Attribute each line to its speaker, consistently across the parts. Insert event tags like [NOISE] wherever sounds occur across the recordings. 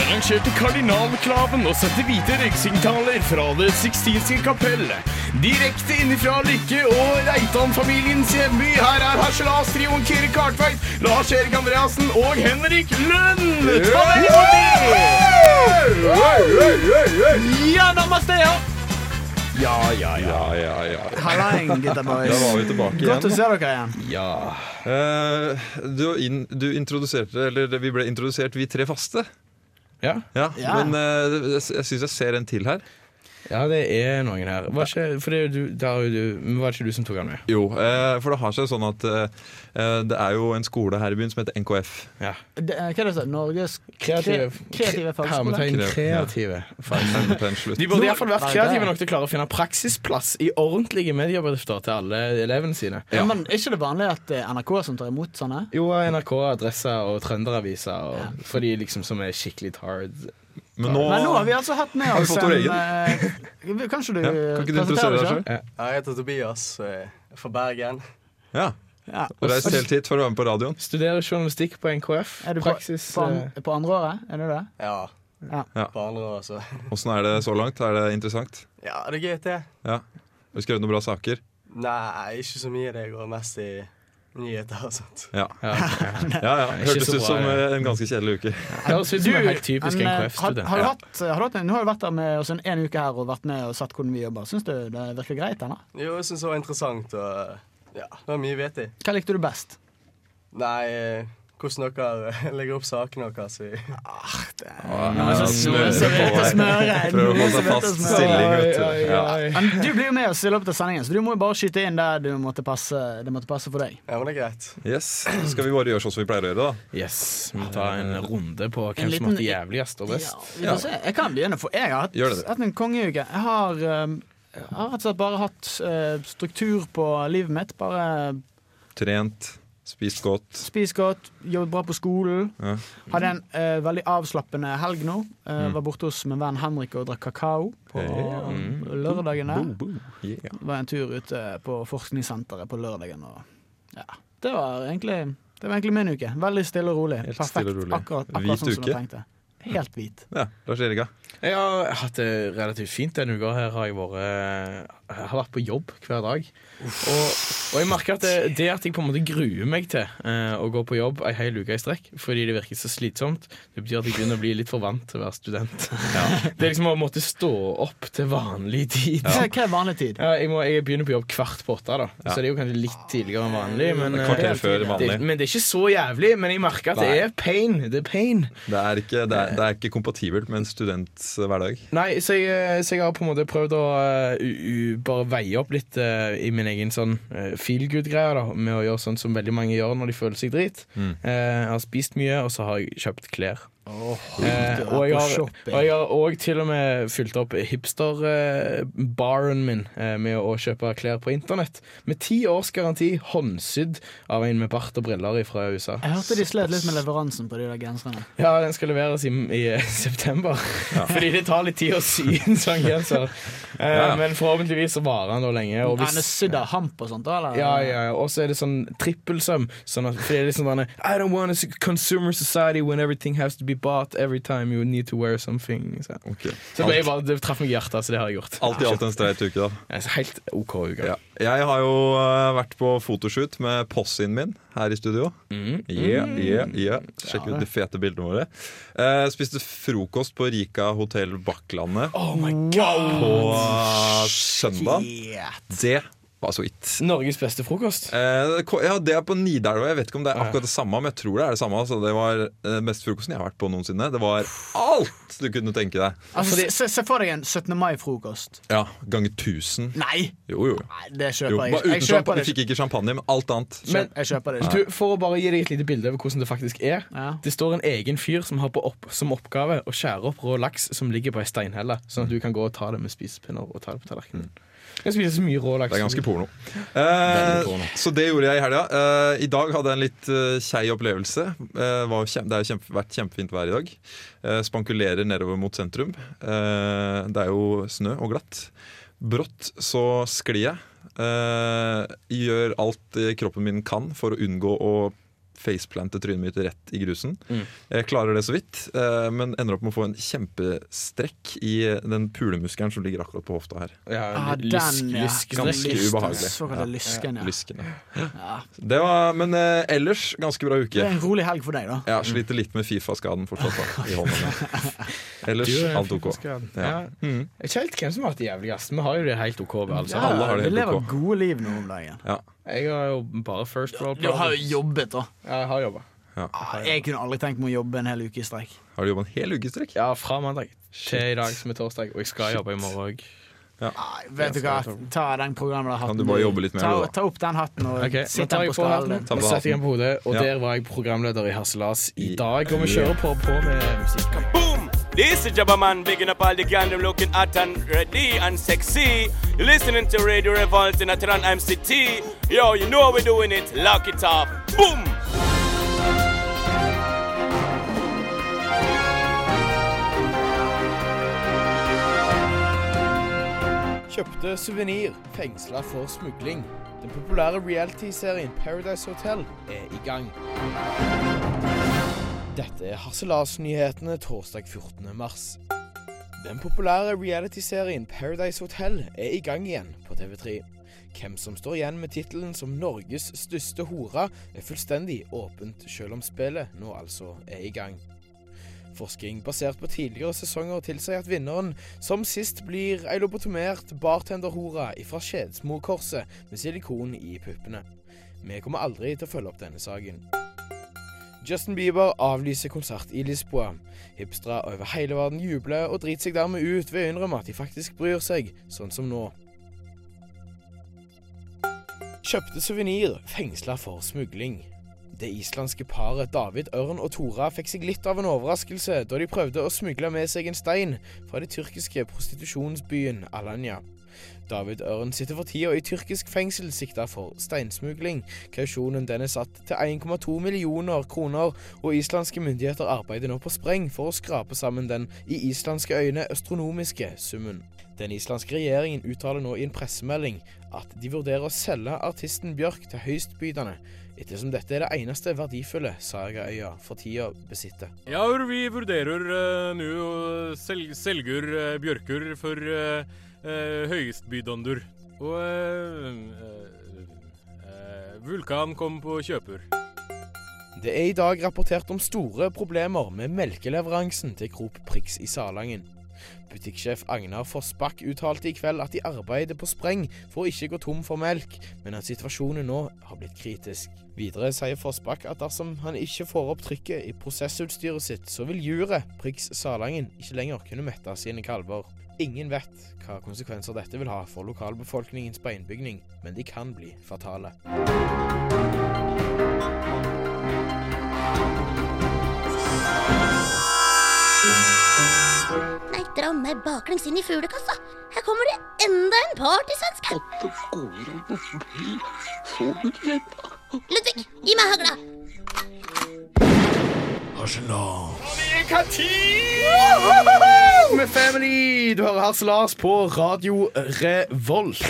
Speaker 1: arrangerte kardinalklaven og sendte hvite røyksigntaler fra Det sixtinske kapell. Direkte innifra Lykke og Reitan-familiens hjemby. Her er harselas-trioen Kyrre Kartveit, Lars-Erik Andreassen og Henrik Lund! Ta vel imot dem! Ja, namaste, ja! Ja, ja, ja.
Speaker 2: Ja, ja, ja.
Speaker 3: [LAUGHS] Hallein, gutta
Speaker 2: Da
Speaker 3: boys.
Speaker 2: var vi tilbake
Speaker 3: Godt å
Speaker 2: igjen.
Speaker 3: se dere igjen.
Speaker 1: ja.
Speaker 2: Eh, du, inn- du introduserte, eller vi ble introdusert, vi tre faste.
Speaker 1: ja.
Speaker 2: Ja,
Speaker 3: Ja.
Speaker 2: Men eh, jeg, jeg syns jeg ser en til her.
Speaker 1: Ja, det er noen her. Var ikke, for det, er jo du, det er jo du, men var det ikke du som tok han med?
Speaker 2: Jo, eh, for det har seg sånn at eh, eh, det er jo en skole her i byen som heter NKF.
Speaker 1: Ja.
Speaker 3: Det, eh, hva er det så? Norges
Speaker 1: Kreative,
Speaker 3: kre- kreative fagskole?
Speaker 1: Hermetegn
Speaker 2: Kreative, ja.
Speaker 1: kreative.
Speaker 2: Fermetegn, slutt.
Speaker 1: De burde i hvert fall vært
Speaker 3: Nei,
Speaker 1: kreative
Speaker 3: det-
Speaker 1: nok til å klare å finne praksisplass i ordentlige mediebedrifter til alle elevene sine.
Speaker 3: Ja. Men er ikke det vanlig at det er NRK som tar imot sånne?
Speaker 1: Jo, NRK-adresser og Trønderaviser og for de liksom som er skikkelig tard.
Speaker 2: Men nå
Speaker 3: Men nå har vi altså hatt med
Speaker 2: vi
Speaker 3: oss
Speaker 2: fått vår egen?
Speaker 3: eh, Kanskje du
Speaker 2: ja, Kan ikke du
Speaker 3: presenterer
Speaker 2: introdusere
Speaker 3: deg
Speaker 2: deg
Speaker 3: selv?
Speaker 2: selv?
Speaker 4: Ja, Jeg heter Tobias, eh, fra Bergen.
Speaker 2: Ja.
Speaker 3: Ja.
Speaker 2: Reist helt hit for å være med på radioen.
Speaker 1: Studerer journalistikk på NKF.
Speaker 3: Er du på,
Speaker 1: Praksis
Speaker 3: på,
Speaker 1: eh,
Speaker 3: an- på andre året? Er du det?
Speaker 4: Ja,
Speaker 3: Ja.
Speaker 4: på andre år, altså.
Speaker 2: Åssen er det så langt? Er det interessant?
Speaker 4: [LAUGHS] Ja, det er gøy, det.
Speaker 2: Ja. Har du skrevet noen bra saker?
Speaker 4: Nei, ikke så mye. Det går mest i nyheter og sånt.
Speaker 2: Ja.
Speaker 1: ja,
Speaker 2: [LAUGHS]
Speaker 1: ja.
Speaker 2: ja, ja.
Speaker 1: Ikke
Speaker 2: Hørtes
Speaker 1: så
Speaker 2: ut
Speaker 1: bra,
Speaker 2: som
Speaker 1: ja.
Speaker 2: eh, en ganske kjedelig uke.
Speaker 1: Høres ut som en helt typisk
Speaker 3: men, eh, har,
Speaker 1: NKF-student.
Speaker 3: har, du
Speaker 2: Ja.
Speaker 3: hatt, eh, har du hatt en, Nå har du vært der med oss en, en uke her og vært med og sett hvordan vi jobber. Syns du det virker greit? Eller?
Speaker 4: Jo, jeg syns det var interessant, og ja, det var mye vett i.
Speaker 3: Hva likte du best?
Speaker 4: Nei, eh, hvordan dere [LAUGHS] eh, legger opp sakene deres i
Speaker 2: Ja,
Speaker 3: noe som
Speaker 2: smører
Speaker 3: heter
Speaker 2: på
Speaker 3: smøre,
Speaker 2: deg. Prøver å
Speaker 3: noe
Speaker 2: få seg fast
Speaker 3: som heter smøre.
Speaker 2: stilling, vet du.
Speaker 1: Oi,
Speaker 2: Ja.
Speaker 1: oi, oi.
Speaker 3: Men du blir jo med oss i løpet av sendingen, så du må jo bare skyte inn der du måtte passe, det måtte passe for deg.
Speaker 4: Ja, men det er greit.
Speaker 2: Yes. Skal vi bare gjøre sånn som vi pleier å gjøre, da?
Speaker 1: Yes, vi tar en runde på hvem
Speaker 3: En
Speaker 1: som har
Speaker 3: liten-
Speaker 1: vært jævligst og best.
Speaker 3: Ja, vi får se. Jeg kan begynne, for jeg har hatt,
Speaker 2: Gjør det.
Speaker 3: hatt en kongeuke. Jeg har, ehm, jeg har rett og slett bare hatt eh, struktur på livet mitt. Bare
Speaker 2: Trent, spist godt.
Speaker 3: spist godt, jobbet bra på skolen.
Speaker 2: Ja. Mm.
Speaker 3: Hadde en eh, veldig avslappende helg nå. Eh, Var borte hos min venn Henrik og drakk kakao på
Speaker 2: Ja.
Speaker 3: lørdagene.
Speaker 2: Yeah.
Speaker 3: Det var en tur ute på forskningssenteret på lørdagen. Og, ja. det, var egentlig, det var egentlig min uke. Veldig stille og rolig.
Speaker 2: Helt
Speaker 3: Perfekt.
Speaker 2: stille og rolig.
Speaker 3: Akkurat,
Speaker 2: Hvit
Speaker 3: akkurat sånn som
Speaker 2: uke?
Speaker 3: jeg tenkte. Helt hvit.
Speaker 2: Ja, Lars Erika.
Speaker 1: Jeg har hatt det relativt fint denne uka. Her har jeg vært, jeg har vært på jobb hver dag. Og, og jeg merker at det, det at jeg på en måte gruer meg til eh, å gå på jobb ei hel uke i strekk, fordi det virker så slitsomt, det betyr at jeg begynner å bli litt for vant til å være student. Det er liksom å måtte stå opp til vanlig tid.
Speaker 3: Hva hva er vanlig tid?
Speaker 1: Ja, jeg, må, jeg begynner på jobb kvart på åtte, da. så det er jo kanskje litt tidligere enn vanlig. Men,
Speaker 2: Et kvarter
Speaker 1: eh,
Speaker 2: før vanlig.
Speaker 1: det, men det er ikke så jævlig. Men jeg merker at det
Speaker 2: Nei.
Speaker 1: er pain. Det er pain.
Speaker 2: Det er ikke, det er, det er ikke kompatibelt med en students eh, hverdag.
Speaker 1: Nei, så jeg, eh, så jeg har på en måte prøvd å eh, u, u, bare veie opp litt eh, i min egen sånn eh, feel good-greie, da, med å gjøre sånn som veldig mange gjør når de føler seg drit. Eh, jeg har spist mye, og så har jeg kjøpt klær. Eh, og, jeg har, og jeg har òg til og med fylt opp hipster-baren min eh, med å kjøpe klær på internett. Med ti års garanti, håndsydd av en med bart og briller fra USA.
Speaker 3: Jeg hørte de slet litt med leveransen på de der genserne.
Speaker 1: Ja, den skal leveres i, i eh, [LAUGHS] september. Fordi det tar litt tid å sy en sånn genser.
Speaker 2: [LAUGHS]
Speaker 1: Eh,
Speaker 2: Ja.
Speaker 1: Men forhåpentligvis så varer den da lenge. Og
Speaker 3: Ja, Han er
Speaker 1: hvis
Speaker 3: sydd av hamp og sånt, da? Eller?
Speaker 1: ja, ja, ja. Og så er det sånn trippelsøm. Sånn at, fordi det er liksom denne I don't want a s- consumer society when everything has to be bought every time you need to wear something. Så,
Speaker 2: Ok.
Speaker 1: så det, ble bare, det traff meg i hjertet, så det har jeg gjort.
Speaker 2: Alt i alt en streit uke, da.
Speaker 1: Ja, så Helt OK uke.
Speaker 2: Ja. Jeg har jo eh, vært på fotoshoot med possien min her i studio.
Speaker 1: Mm.
Speaker 2: Yeah,
Speaker 3: Mm.
Speaker 2: yeah, yeah. Sjekk ut de fete bildene våre. Eh, spiste frokost på Rika hotell Bakklandet
Speaker 1: Oh my god!
Speaker 2: på søndag. Det var sweet.
Speaker 1: Norges beste frokost.
Speaker 2: Eh, det ko- ja, det er på Nidelva. Jeg vet ikke om det er akkurat det samme, men jeg tror det er det samme. Altså, det var eh, beste frokosten jeg har vært på noensinne. Det var alt du kunne tenke deg.
Speaker 3: Altså, se, se for deg en 17. mai-frokost.
Speaker 2: Ja, Ganger 1000.
Speaker 3: Nei!
Speaker 2: Jo, jo.
Speaker 3: Nei, det
Speaker 2: jo.
Speaker 3: kjøper
Speaker 2: Bare
Speaker 3: jeg ikke.
Speaker 2: uten sjamp-
Speaker 3: Jeg kjøper
Speaker 2: Vi
Speaker 3: det ikke.
Speaker 2: fikk ikke champagne, men alt annet.
Speaker 1: Men-
Speaker 3: Kjøp- Jeg kjøper det ikke.
Speaker 1: Du, for å bare gi deg et lite bilde over hvordan det faktisk er.
Speaker 3: Ja.
Speaker 1: Det står en egen fyr som har på opp, som oppgave å skjære opp rå laks som ligger på ei steinhelle, sånn at du kan gå og ta det med spisepinner og ta det på tallerkenen. Du kan spise så mye rå laks.
Speaker 2: Mm. Det er ganske porno.
Speaker 1: Veldig porno.
Speaker 2: Eh, så det gjorde jeg i helga. Eh, I dag hadde jeg en litt eh, kjei opplevelse. Eh, var kjem, det har kjempe, vært kjempefint vær i dag. Eh, spankulerer nedover mot sentrum. Eh, det er jo snø og glatt. Brått så sklir jeg. Eh, gjør alt eh, kroppen min kan for å unngå å faceplante trynet mitt rett i grusen.
Speaker 5: Mm.
Speaker 2: Jeg klarer det så vidt, eh, men ender opp med å få en kjempestrekk i den pulemuskelen som ligger akkurat på hofta her.
Speaker 5: Ja,
Speaker 3: Ah, den, ja.
Speaker 2: Ganske
Speaker 5: Lyskestrekk.
Speaker 3: Lysten,
Speaker 2: ubehagelig.
Speaker 3: Såkalt
Speaker 2: Ja.
Speaker 3: lysken, ja.
Speaker 2: Lysken, ja.
Speaker 3: ja.
Speaker 2: Det var, men eh, ellers ganske bra
Speaker 3: Det
Speaker 2: uke.
Speaker 3: er en rolig helg for deg, da.
Speaker 2: Ja, sliter litt med Fifa-skaden fortsatt da, i hånda.
Speaker 3: [LAUGHS]
Speaker 2: mi. Ellers
Speaker 5: Du er
Speaker 2: alt OK.
Speaker 5: faktisk glad.
Speaker 2: Ja.
Speaker 5: Ja.
Speaker 2: Mm.
Speaker 5: Jeg vet ikke helt hvem som har hatt det jævligst. Vi har jo det helt OK. med, Altså.
Speaker 2: Ja. alle har det
Speaker 3: vi
Speaker 2: helt
Speaker 3: lever
Speaker 2: ok.
Speaker 3: gode liv nå om dagen.
Speaker 5: Jeg har jo bare first world
Speaker 3: Du har
Speaker 5: problems.
Speaker 3: jo jobbet, da.
Speaker 5: Ja, jeg har jobba.
Speaker 3: Ah, Jeg kunne aldri tenkt meg å jobbe en hel uke i streik.
Speaker 2: Har du jobba en hel uke i strekk?
Speaker 5: Ja, fra mandag til
Speaker 2: Shit.
Speaker 5: i dag, som er torsdag. Og jeg skal jobbe i morgen òg.
Speaker 3: Ah, vet du hva, ta den
Speaker 2: Kan
Speaker 3: programlederhatten.
Speaker 2: du bare jobbe litt mer,
Speaker 3: ta,
Speaker 2: da?
Speaker 3: ta opp den hatten og
Speaker 5: Ok, Nå
Speaker 3: sitt
Speaker 5: tar
Speaker 3: den
Speaker 5: jeg
Speaker 3: på
Speaker 5: på hatten,
Speaker 3: skallen.
Speaker 2: Ta på
Speaker 5: nå setter jeg den på hodet, og
Speaker 2: Ja.
Speaker 5: der var jeg programleder i Harselas i
Speaker 2: I-
Speaker 5: dag. Og vi kjører på, på med musikk.
Speaker 4: Boom! This is Jabba Man, bigging up all the gang, them looking hot and ready and sexy. You're listening to Radio Revolt in Atran MCT. Yo, you know how we're doing it. Lock it up. Boom!
Speaker 1: Kjøpte suvenir, fengsla for smugling. Den populære reality-serien Paradise Hotel er i gang. Dette er Harselas-nyhetene torsdag 14. mars. Den populære reality-serien Paradise Hotel er i gang igjen på TV3. Hvem som står igjen med tittelen som Norges største hore, er fullstendig åpent, selv om spillet nå altså er i gang. Forskning basert på tidligere sesonger tilsier at vinneren som sist blir ei lobotomert bartenderhora ifra Skedsmokorset med silikon i puppene. Vi kommer aldri til å følge opp denne saken. Justin Bieber avlyser konsert i Lisboa. Hipstere over hele verden jubler og driter seg dermed ut ved å innrømme at de faktisk bryr seg, sånn som nå. Kjøpte suvenir, fengsla for smugling. Det islandske paret David Ørn og Tora fikk seg litt av en overraskelse da de prøvde å smugle med seg en stein fra den tyrkiske prostitusjonsbyen Alanya. David Ørn sitter for tida i tyrkisk fengsel sikta for steinsmugling. Kausjonen den er satt til 1,2 millioner kroner, og islandske myndigheter arbeider nå på spreng for å skrape sammen den i islandske øyne astronomiske summen. Den islandske regjeringen uttaler nå i en pressemelding at de vurderer å selge artisten Bjørk til høystbydende, ettersom dette er det eneste verdifulle Sagaøya for tida besitter.
Speaker 6: Ja, vi vurderer eh, nå å sel selger eh, bjørker for uh, høyestbydander. Og eh, eh, eh, vulkan kom på kjøper.
Speaker 1: Det er i dag rapportert om store problemer med melkeleveransen til Krop Prix i Salangen. Butikksjef Agnar Fossbakk uttalte i kveld at de arbeider på spreng for å ikke gå tom for melk, men at situasjonen nå har blitt kritisk. Videre sier Fossbakk at dersom han ikke får opp trykket i prosessutstyret sitt, så vil juret Prix Salangen ikke lenger kunne mette sine kalver. Ingen vet hva konsekvenser dette vil ha for lokalbefolkningens beinbygning, men de kan bli fatale.
Speaker 7: Nei, dra meg baklengs inn i fuglekassa. Her kommer det enda en partysvenske. Ludvig, gi meg hagla.
Speaker 5: Med Family! Du hører Harselas på Radio Revolt.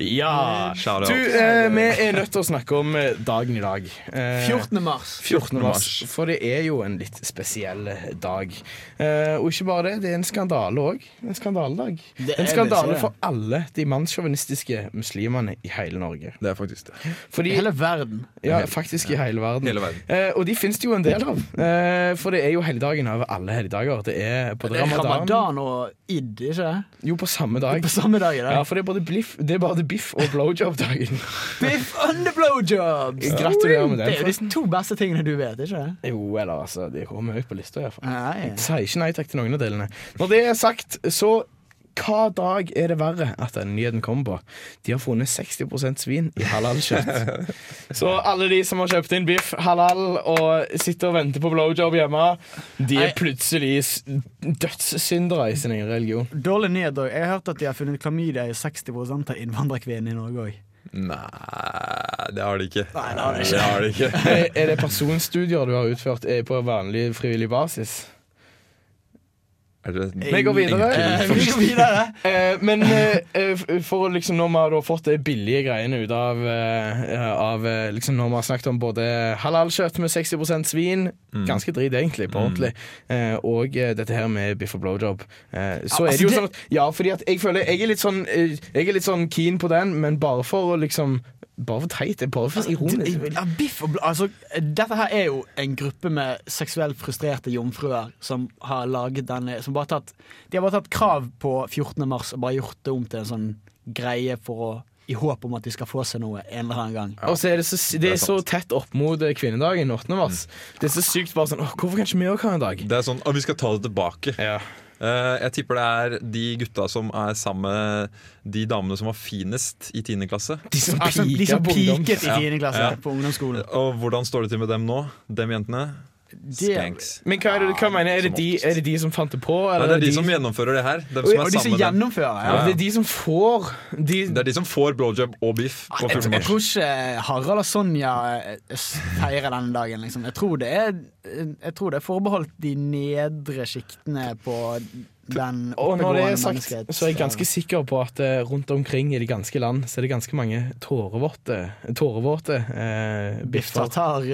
Speaker 5: Ja.
Speaker 2: Shout
Speaker 5: Du,
Speaker 2: out.
Speaker 5: eh, vi er nødt til å snakke om eh, dagen i dag. Eh,
Speaker 3: 14. mars.
Speaker 5: 14. mars. For det er jo en litt spesiell dag. Eh, og ikke bare det, det er en skandale òg. En skandaledag.
Speaker 3: Det er
Speaker 5: En
Speaker 3: det, sier
Speaker 5: skandale
Speaker 3: jeg.
Speaker 5: for alle de mannssjåvinistiske muslimene i hele Norge.
Speaker 2: Det er faktisk det.
Speaker 5: Fordi,
Speaker 3: Eh, Hele verden.
Speaker 5: ja, faktisk i hele verden.
Speaker 2: Hele verden.
Speaker 5: Eh, og de finnes det jo en del av. Eh, for det er jo helligdagen over alle helligdager. Det er både
Speaker 3: Det er
Speaker 5: ramadan,
Speaker 3: ramadan og id, ikke det?
Speaker 5: Jo, på samme dag.
Speaker 3: På samme dag i
Speaker 5: Ja,
Speaker 3: dag.
Speaker 5: for det er både bliff, det er både biff og blowjob-dagen. [LAUGHS]
Speaker 3: Biff under blowjobs!
Speaker 5: Gratulerer med den,
Speaker 3: Det er jo de
Speaker 5: forresten.
Speaker 3: to beste tingene du vet, ikke det?
Speaker 5: Jo, eller altså, det kommer høyt på lista iallfall.
Speaker 3: Nei.
Speaker 5: Sier ikke nei takk til noen av delene. Når det er sagt, så hva dag er det verre at den nyheten kommer på? De har funnet 60 svin i
Speaker 3: [LAUGHS]
Speaker 5: halalkjøtt. Så alle de som har kjøpt inn biff halal og sitter og venter på blowjob hjemme, de er
Speaker 3: Nei.
Speaker 5: plutselig s- dødssyndere i sin egen religion.
Speaker 3: Dårlig nyhet òg. Jeg har hørt at de har funnet klamydia i 60 av innvandrerkvinnene i Norge òg.
Speaker 2: Nei, det har de ikke. Nei,
Speaker 3: det har de ikke.
Speaker 2: har de ikke.
Speaker 5: Er er det personstudier du har utført eh, på vanlig frivillig basis?
Speaker 2: Er det
Speaker 1: Vi går videre.
Speaker 2: enkel-
Speaker 1: Eh, vi går videre. Eh, men eh, eh, f- for å liksom når vi har da fått de billige greiene ut av, eh, av eh, liksom Når vi har snakket om både halalkjøtt med 60 svin, ganske drit egentlig, på ordentlig, eh, og eh, dette her med biff og blowjob, eh, så
Speaker 3: Ja,
Speaker 1: er det jo
Speaker 3: altså,
Speaker 1: sånn at Ja, fordi at jeg føler Jeg er litt sånn, eh, jeg er litt sånn keen på den, men bare for å liksom Bare for teit. Bare for ironisk.
Speaker 3: Ja, biff og bla, altså, dette her er jo en gruppe med seksuelt frustrerte jomfruer som har laget denne som bare tatt, De har bare tatt krav på 14. mars og bare gjort det om til en sånn greie for å, i håp om at de skal få seg noe en eller annen gang.
Speaker 1: Og så er det så, det er så
Speaker 2: sant.
Speaker 1: tett opp mot eh, kvinnedagen 8. mars. Det er så sykt bare sånn Åh, Hvorfor kan ikke vi òg ha en dag?
Speaker 2: Det er sånn, «Å, vi skal ta det tilbake.
Speaker 1: Ja.
Speaker 2: Eh, jeg tipper det er de gutta som er sammen med de damene som var finest i 10. klasse.
Speaker 1: De som
Speaker 3: Altså, de som piket i 10. klasse
Speaker 2: Ja.
Speaker 3: på ungdomsskolen.
Speaker 2: Og hvordan står det til med dem nå? Dem jentene?
Speaker 3: Det-
Speaker 2: Skanks.
Speaker 1: Men hva, er det, hva mener jeg? Er det,
Speaker 2: som
Speaker 1: de,
Speaker 2: oftest.
Speaker 1: er det de som fant det på?
Speaker 2: Nei,
Speaker 1: Eller
Speaker 2: det er de som gjennomfører det her. Dem
Speaker 3: Og,
Speaker 2: som
Speaker 3: og
Speaker 2: er
Speaker 3: de som
Speaker 2: sammen med dem.
Speaker 3: gjennomfører.
Speaker 1: ja,
Speaker 3: Ja.
Speaker 1: Det er de som får de,
Speaker 2: Det er de som får blowjob og biff på
Speaker 3: Ah,
Speaker 2: 14.
Speaker 3: Jeg, jeg
Speaker 2: mars.
Speaker 3: tror ikke Harald og Sonja eh, s- feirer denne dagen, liksom. Jeg tror det er, jeg tror det er forbeholdt de nedre sjiktene på den
Speaker 1: Og når det
Speaker 3: oppegående
Speaker 1: er sagt,
Speaker 3: menneskets-
Speaker 1: så er jeg ganske sikker på at eh, rundt omkring i det ganske land så er det ganske mange tårevåte, tårevåte eh,
Speaker 3: Biff
Speaker 1: biffer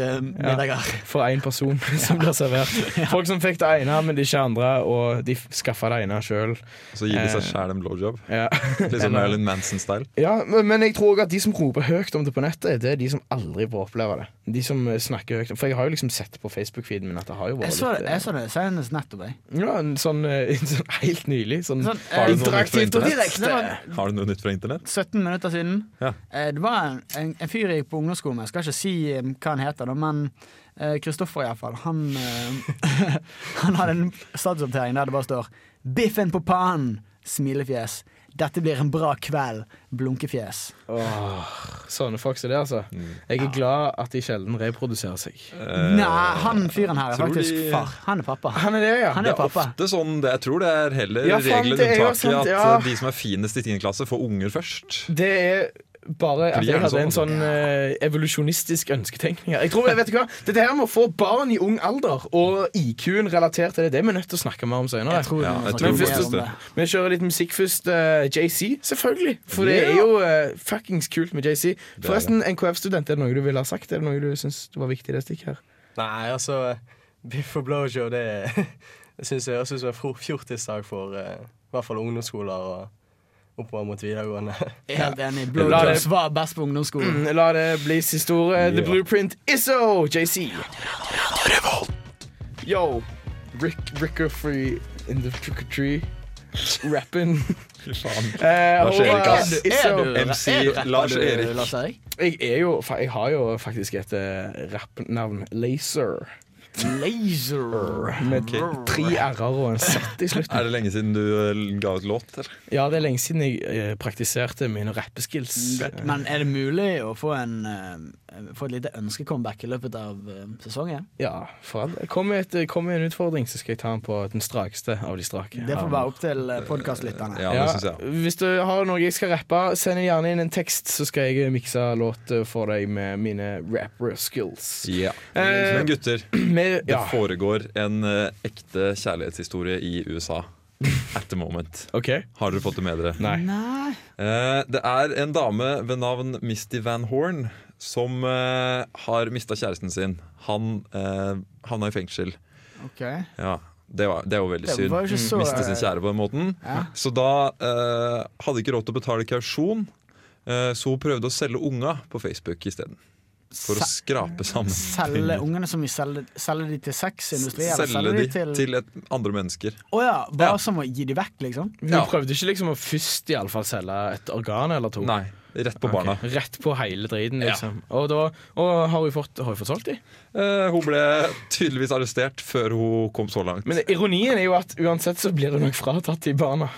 Speaker 3: tartar-middager.
Speaker 1: for én
Speaker 2: [LAUGHS]
Speaker 1: person som blir servert. Folk som fikk det ene, men ikke andre, og de skaffa det ene sjøl.
Speaker 2: Så gir de seg sjæl en blowjob.
Speaker 1: Ja. [LAUGHS] eh,
Speaker 2: Litt sånn Marilyn Manson-style.
Speaker 1: Ja, men men jeg tror også at de som roper høyt om det på nettet, det er de som aldri får oppleve det. De som eh, snakker høyt om For jeg har jo liksom sett på Facebook-feeden min at det har jo
Speaker 3: Jeg
Speaker 1: vært
Speaker 3: så,
Speaker 1: litt
Speaker 3: det,
Speaker 1: eh,
Speaker 3: jeg så det senest nettopp, jeg.
Speaker 1: Ja, en sånn, eh, [LAUGHS] en sånn helt nylig. Sånn,
Speaker 3: Sånn,
Speaker 2: Har du noe nytt
Speaker 1: interaktivt
Speaker 2: fra
Speaker 1: og
Speaker 2: internett?
Speaker 1: direkte.
Speaker 2: Har du noe nytt fra internett?
Speaker 3: 17 minutter siden.
Speaker 2: Ja.
Speaker 3: Eh, Det var en, en, en fyr jeg gikk på ungdomsskolen med. Jeg skal ikke si eh, hva han heter, da, men eh, Kristoffer iallfall. Han, eh, [LAUGHS] han hadde en statusoppdatering der det bare står 'Biffen på pannen!' Smilefjes. Dette blir en bra kveld. Blunkefjes.
Speaker 1: Åh, sånne folk som det, altså.
Speaker 3: Mm.
Speaker 1: Jeg er glad at de sjelden reproduserer seg.
Speaker 3: Nei, han fyren her er
Speaker 2: Eh, tror
Speaker 3: faktisk
Speaker 2: de-
Speaker 3: far. Han er pappa.
Speaker 1: Han er det, ja.
Speaker 3: Han
Speaker 2: Det
Speaker 3: er
Speaker 2: er
Speaker 3: pappa.
Speaker 2: ofte sånn, det, jeg tror det er heller
Speaker 1: Ja, faen,
Speaker 2: regelen
Speaker 1: det er
Speaker 2: enn
Speaker 1: jo
Speaker 2: taket
Speaker 1: sant,
Speaker 2: at
Speaker 1: ja.
Speaker 2: eh, de som er finest i 10. klasse, får unger først.
Speaker 1: Det er bare at
Speaker 2: Fordi
Speaker 1: jeg
Speaker 2: er det
Speaker 1: hadde en
Speaker 2: sånn?
Speaker 1: sånn eh, evolusjonistisk ønsketenkning. her. Jeg tror, vet du hva, Dette her med å få barn i ung alder og IQ-en relatert til det, det er vi nødt til å snakke mer om senere.
Speaker 3: Jeg tror
Speaker 2: Ja,
Speaker 3: vi må
Speaker 2: jeg
Speaker 3: snakke
Speaker 2: tror
Speaker 3: mer
Speaker 2: faktisk
Speaker 3: om
Speaker 2: det.
Speaker 3: det.
Speaker 1: Vi kjører litt musikk først. eh, JC, selvfølgelig. For det er jo eh, fuckings kult med JC. Forresten, NKF-student, er det noe du ville ha sagt? Er det noe du syns var viktig i det stikket her?
Speaker 4: Nei, altså Biff og blowjow, det [LAUGHS] jeg synes jeg høres ut som en fro- fjortisdag for eh, i hvert fall ungdomsskoler og oppover mot videregående. [LAUGHS]
Speaker 3: Jeg er Helt enig.
Speaker 1: La det- Mm.
Speaker 3: Blowjobs var best på ungdomsskolen.
Speaker 1: La det bli siste ordet. The
Speaker 2: Ja.
Speaker 1: Blueprint ISO, JC. Yo, Rick Rickerfree in the trick or tree. Rapping.
Speaker 2: Fy faen.
Speaker 1: Eh,
Speaker 2: Hva skjer,
Speaker 1: og, eh,
Speaker 2: Rikard?
Speaker 3: Er du,
Speaker 1: ISO.
Speaker 3: er du,
Speaker 2: MC
Speaker 3: er du rapper,
Speaker 2: Lars
Speaker 3: du,
Speaker 2: Erik.
Speaker 3: Lars Erik?
Speaker 1: Jeg, er jo, fa- jeg har jo faktisk et eh, rappnavn. Laser.
Speaker 3: Laser.
Speaker 1: Med tre r-er og en z i slutten.
Speaker 2: Er det lenge siden du eh, ga ut låt, eller?
Speaker 1: Ja, det er lenge siden jeg eh, praktiserte mine rappeskills.
Speaker 3: Men er det mulig å få, en, eh, få et lite ønskecomeback i løpet av eh, sesongen?
Speaker 1: Ja, for all del. Kom med, et, kom med en utfordring, så skal jeg ta den på den strakeste av de strake.
Speaker 3: Det får være opp til eh, podkastlytterne.
Speaker 2: Ja, det synes jeg.
Speaker 1: Hvis du har noe jeg skal rappe, send gjerne inn en tekst, så skal jeg eh, mikse låt for deg med mine rapper skills.
Speaker 2: Ja.
Speaker 1: Eh,
Speaker 2: Men gutter,
Speaker 1: [CLEARS THROAT] Med,
Speaker 2: det
Speaker 1: ja.
Speaker 2: foregår en eh, ekte kjærlighetshistorie i USA. At the moment.
Speaker 1: OK?
Speaker 2: Har dere fått det med dere?
Speaker 1: Nei.
Speaker 3: Nei
Speaker 2: Eh, det er en dame ved navn Misty Van Horn som eh, har mista kjæresten sin. Han uh, havna i fengsel.
Speaker 3: OK.
Speaker 2: Ja, det, var, det er jo veldig
Speaker 3: Det
Speaker 2: synd.
Speaker 3: var jo ikke så eh,
Speaker 2: Miste sin kjære på den måten.
Speaker 3: Ja.
Speaker 2: Så da eh, hadde ikke råd til å betale kausjon, eh, så hun prøvde å selge unga på Facebook isteden. For å
Speaker 3: Se-
Speaker 2: skrape sammen
Speaker 3: Selge ungene som vi selger, selger de til sexindustri? Eller
Speaker 2: Selge
Speaker 3: selger
Speaker 2: de
Speaker 3: de til Å
Speaker 2: til et, andre mennesker.
Speaker 3: ja, bare
Speaker 2: Ja.
Speaker 3: som å gi de vekk,
Speaker 1: [LAUGHS]
Speaker 3: liksom?
Speaker 1: Hun
Speaker 2: Ja.
Speaker 1: prøvde ikke liksom å først i alle fall selge et organ eller to?
Speaker 2: Nei, rett på barna.
Speaker 1: Ok, Rett på hele driten, liksom. Og, da, og har hun fått, har hun fått solgt de?
Speaker 2: Eh, hun ble tydeligvis arrestert før hun kom så langt.
Speaker 1: Men ironien er jo at uansett så blir hun nok fratatt de barna.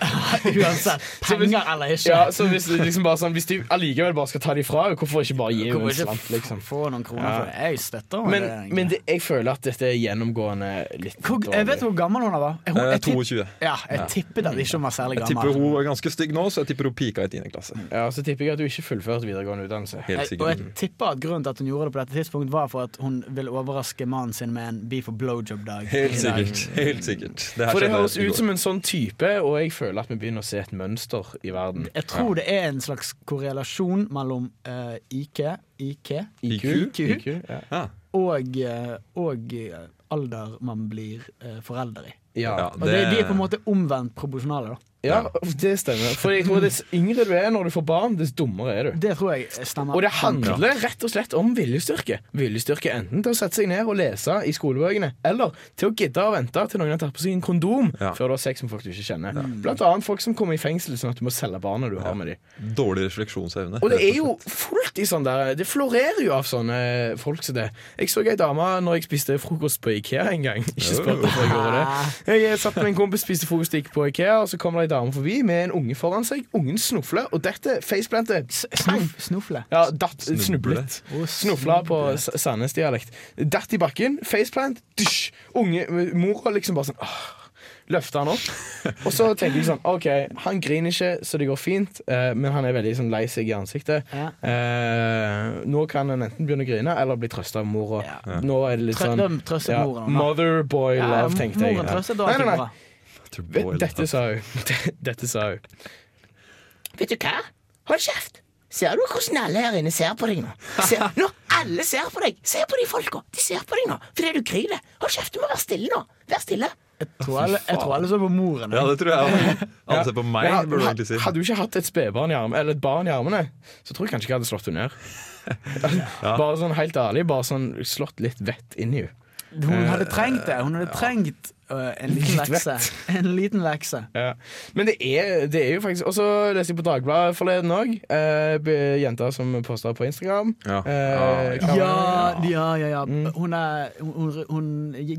Speaker 3: Uansett.
Speaker 1: Så hvis-
Speaker 3: Penger eller ikke.
Speaker 1: Ja, så hvis, det liksom bare sånn, hvis de allikevel bare skal ta de fra, hvorfor ikke bare gi henne
Speaker 3: Kommer
Speaker 1: en slant,
Speaker 3: ikke
Speaker 1: liksom?
Speaker 3: få noen kroner
Speaker 1: Ja.
Speaker 3: for det. Jeg støtter henne.
Speaker 1: Men, men det, jeg føler at dette er gjennomgående litt
Speaker 3: hvor, jeg vet
Speaker 1: dårlig.
Speaker 3: hvor gammel hun var. Hun,
Speaker 2: Eh,
Speaker 3: jeg, tipp,
Speaker 2: 22.
Speaker 3: ja, jeg tippet at ikke hun var særlig
Speaker 2: Jeg tipper
Speaker 3: gammel.
Speaker 2: hun er ganske stygg nå, så jeg tipper hun pika i 10. klasse.
Speaker 1: Ja, Så tipper jeg at du ikke fullførte videregående utdannelse.
Speaker 2: Helt
Speaker 3: Jeg, og
Speaker 2: sikkert.
Speaker 3: jeg tipper at grunnen til at hun gjorde det på dette tidspunkt, var for at hun ville overraske mannen sin med en beef og blowjob-dag.
Speaker 2: Helt
Speaker 3: i dag.
Speaker 2: sikkert. Helt sikkert. Det her
Speaker 1: For det
Speaker 2: skjedde
Speaker 1: høres
Speaker 2: i går.
Speaker 1: ut som en sånn type, og jeg føler at vi begynner å se et mønster i verden.
Speaker 3: Jeg tror det er en slags korrelasjon mellom eh, IQ, IQ
Speaker 1: IQ,
Speaker 3: IQ,
Speaker 1: ja.
Speaker 2: ja.
Speaker 3: og, eh, og eh, alder man blir eh, forelder i.
Speaker 1: Ja.
Speaker 2: Ja,
Speaker 3: Og det... de er på en måte omvendt proporsjonale, da.
Speaker 1: ja, det stemmer. For jeg tror dess yngre du er når du får barn, dess dummere er du.
Speaker 3: Det tror jeg stemmer.
Speaker 1: Og det handler rett og slett om viljestyrke. Viljestyrke enten til å sette seg ned og lese i skolebøkene, eller til å gidde å vente til noen har tatt på seg en kondom
Speaker 2: Ja.
Speaker 1: før du har sex med folk du ikke kjenner. Blant annet folk som kommer i fengsel, sånn at du må selge barna du har med dem.
Speaker 2: Dårlig refleksjonsevne.
Speaker 1: Og det
Speaker 2: rett
Speaker 1: er
Speaker 2: [LAUGHS]
Speaker 1: jo fullt i sånn der Det florerer jo av sånne folk som det. Jeg så ei dame når jeg spiste frokost på Ikea en gang. [LAUGHS] Ikke spør hvorfor jeg gjorde det. Jeg eh, satt med en kompis spiste frokost ikke på Ikea, og så kommer det ei dame forbi med en unge foran seg. Ungen snufler, og dette faceplantet
Speaker 3: Snuff, snufle.
Speaker 1: ja, datt,
Speaker 2: Snublet.
Speaker 1: snublet. Snufla på s- Sandnes-dialekt. Datt i bakken, faceplant, dysj. Unge, mora liksom bare sånn ah, Løfta han opp.
Speaker 3: [LAUGHS]
Speaker 1: Og så tenker jeg sånn OK, han griner ikke, så det går fint, eh, men han er veldig sånn lei seg i ansiktet.
Speaker 3: Ja.
Speaker 1: Eh, nå kan han enten begynne å grine eller bli trøsta av mora.
Speaker 3: Ja.
Speaker 1: Nå er det litt
Speaker 3: Trø-
Speaker 1: sånn
Speaker 3: de trøster moren, da.
Speaker 1: Mother boy love, tenkte jeg.
Speaker 3: Moren trøster
Speaker 1: Nei, nei, nei.
Speaker 3: dagen.
Speaker 2: og slett.
Speaker 1: Vet- Dette sa hun. [LAUGHS] Dette sa hun.
Speaker 8: Vet du hva? Hold kjeft! Ser du hvordan alle her inne ser på deg nå?
Speaker 2: [LAUGHS]
Speaker 8: Ser, nå, Alle ser på deg! Se på de folka! De ser på deg nå fordi du griner. Hold kjeft! Du må være stille nå! Vær stille.
Speaker 3: Jeg tror alle, jeg tror alle så på moren.
Speaker 2: Ja, det tror jeg. Alle ser på meg,
Speaker 1: Men ha-
Speaker 2: burde du egentlig si.
Speaker 1: ha- Hadde du ikke hatt et spedbarn i armene, eller et barn i armene, så tror jeg kanskje ikke jeg hadde slått henne ned.
Speaker 2: [LAUGHS]
Speaker 1: Bare sånn helt ærlig, bare sånn slått litt vett inn i henne.
Speaker 3: Hun hadde trengt det. Hun hadde trengt øh, en liten
Speaker 1: Litt
Speaker 3: lekse. En liten lekse.
Speaker 1: Ja. Men det er, det er jo faktisk Og så leste jeg på Dagbladet forleden òg. Eh, be- jenta som posta på Instagram.
Speaker 2: Ja.
Speaker 1: Eh,
Speaker 2: Ja, Mm.
Speaker 1: kan-
Speaker 3: Ja, ja, ja. ja. Hun, er, hun, hun